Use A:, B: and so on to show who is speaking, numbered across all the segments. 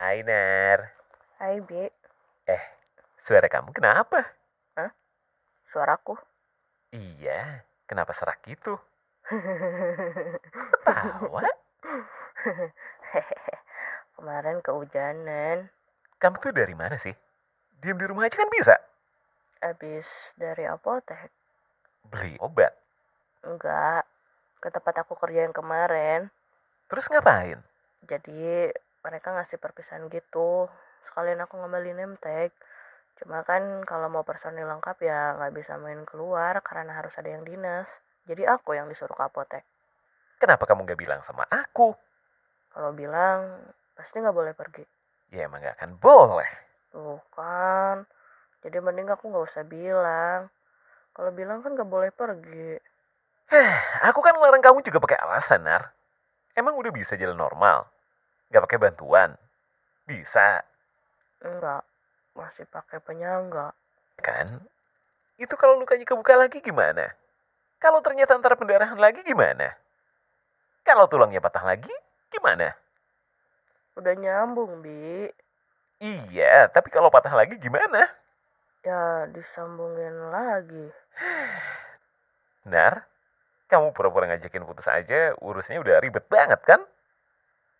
A: Hai Nar,
B: Hai, Bi.
A: suara kamu kenapa?
B: Suaraku.
A: Iya, kenapa serak gitu? Ketawa?
B: Kemarin kehujanan.
A: Kamu tuh dari mana sih? Diam di rumah aja kan bisa.
B: Abis dari apotek.
A: Beli obat.
B: Enggak. Ke tempat aku kerja yang kemarin.
A: Terus ngapain?
B: Jadi mereka ngasih perpisahan gitu. Sekalian aku ngembalin nemtek. Cuma kan kalau mau personil lengkap ya nggak bisa main keluar karena harus ada yang dinas. Jadi aku yang disuruh ke apotek.
A: Kenapa kamu gak bilang sama aku?
B: Kalau bilang pasti nggak boleh pergi.
A: Ya emang gak akan boleh.
B: Tuh kan. Jadi mending aku nggak usah bilang. Kalau bilang kan nggak boleh pergi.
A: Aku kan ngelarang kamu juga pakai alasan, Nar. Emang udah bisa jalan normal? Gak pakai bantuan? Bisa,
B: Enggak, masih pakai penyangga.
A: kan? Itu kalau lukanya kebuka lagi gimana? Kalau ternyata antara pendarahan lagi gimana? Kalau tulangnya patah lagi gimana?
B: Udah nyambung, Bi.
A: Iya, tapi kalau patah lagi gimana?
B: Ya, disambungin lagi.
A: Nar, kamu pura-pura ngajakin putus aja, urusnya udah ribet banget kan?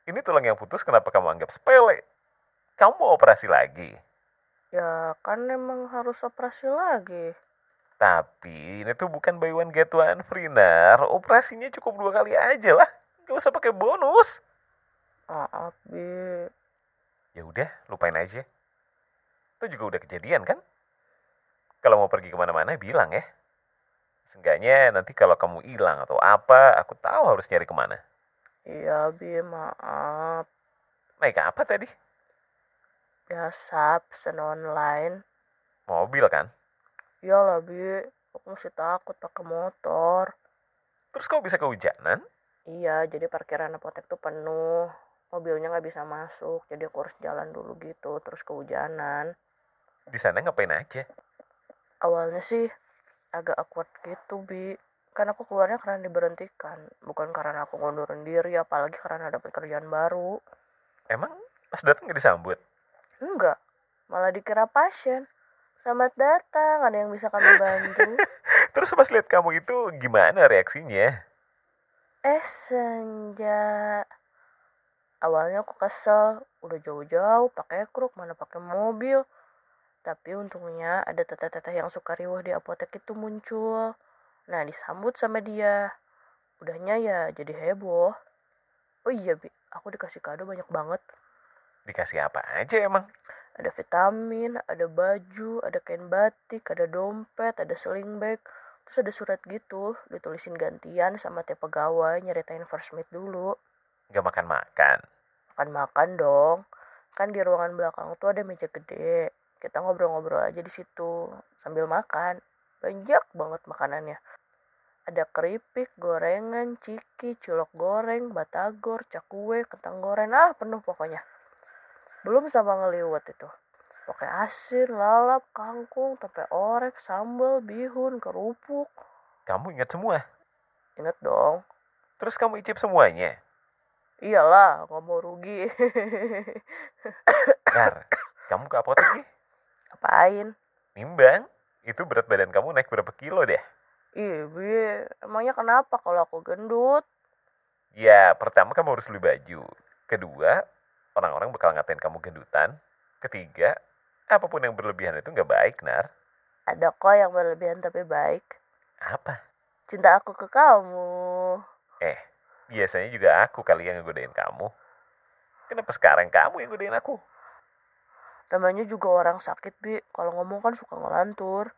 A: Ini tulang yang putus kenapa kamu anggap sepele? Kamu mau operasi lagi?
B: Ya, kan emang harus operasi lagi.
A: Tapi ini tuh bukan buy one get one free, Nar. Operasinya cukup dua kali aja lah. Gak usah pakai bonus.
B: Maaf, Bi.
A: Ya udah, lupain aja. Itu juga udah kejadian kan? Kalau mau pergi kemana-mana bilang ya. Seenggaknya nanti kalau kamu hilang atau apa, aku tahu harus nyari kemana.
B: Iya, Bi, maaf.
A: Naik apa tadi?
B: Biasa, pesan online.
A: Mobil kan?
B: Iyalah, Bi. Aku masih takut pakai motor.
A: Terus kau bisa kehujanan?
B: Iya, jadi parkiran apotek tuh penuh. Mobilnya nggak bisa masuk, jadi aku harus jalan dulu gitu, terus kehujanan.
A: Di sana ngapain aja?
B: awalnya sih agak awkward gitu bi kan aku keluarnya karena diberhentikan bukan karena aku ngundurin diri apalagi karena dapat kerjaan baru
A: Emang pas datang gak disambut?
B: enggak malah dikira pasien selamat datang ada yang bisa kami bantu
A: Terus pas lihat kamu itu gimana reaksinya?
B: eh senja awalnya aku kesel udah jauh-jauh pakai kruk mana pakai mobil tapi untungnya ada teteh-teteh yang suka riuh di apotek itu muncul nah disambut sama dia udahnya ya jadi heboh oh iya bi aku dikasih kado banyak banget
A: Dikasih apa aja emang?
B: ada vitamin ada baju ada kain batik ada dompet ada sling bag terus ada surat gitu ditulisin gantian sama tiap pegawai nyeritain first meet dulu
A: Gak makan-makan.
B: makan-makan dong. Kan di ruangan belakang tuh ada meja gede. Kita ngobrol-ngobrol aja di situ sambil makan. Banyak banget makanannya. Ada keripik, gorengan, ciki, cilok goreng, batagor, cakwe, kentang goreng. Ah, penuh pokoknya. Belum sama ngeliwat itu. Pakai asin, lalap, kangkung, tempe orek, sambal, bihun, kerupuk.
A: Kamu ingat semua?
B: Ingat dong.
A: Terus kamu icip semuanya?
B: Iyalah, nggak mau rugi.
A: Nar, kamu ke apotek nih?
B: Apain?
A: Nimbang? Itu berat badan kamu naik berapa kilo deh?
B: Ih, Bi, emangnya kenapa kalau aku gendut?
A: Ya, pertama kamu harus beli baju. Kedua, orang-orang bakal ngatain kamu gendutan. Ketiga, apapun yang berlebihan itu nggak baik, Nar.
B: Ada kok yang berlebihan tapi baik.
A: Apa?
B: Cinta aku ke kamu.
A: Biasanya juga aku kali yang ngegodain kamu. Kenapa sekarang kamu yang godain aku?
B: Namanya juga orang sakit, Bi. Kalau ngomong kan suka ngelantur.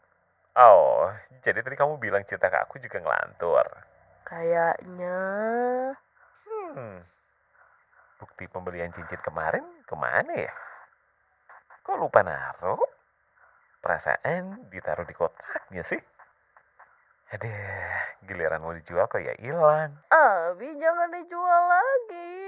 A: Oh, jadi tadi kamu bilang cinta ke aku juga ngelantur.
B: Kayaknya...
A: Hmm. Bukti pembelian cincin kemarin kemana ya? Kok lupa naruh? Perasaan ditaruh di kotaknya sih. Aduh, giliran mau dijual kok ya hilang.
B: Ah, Bi, jangan dijual lagi.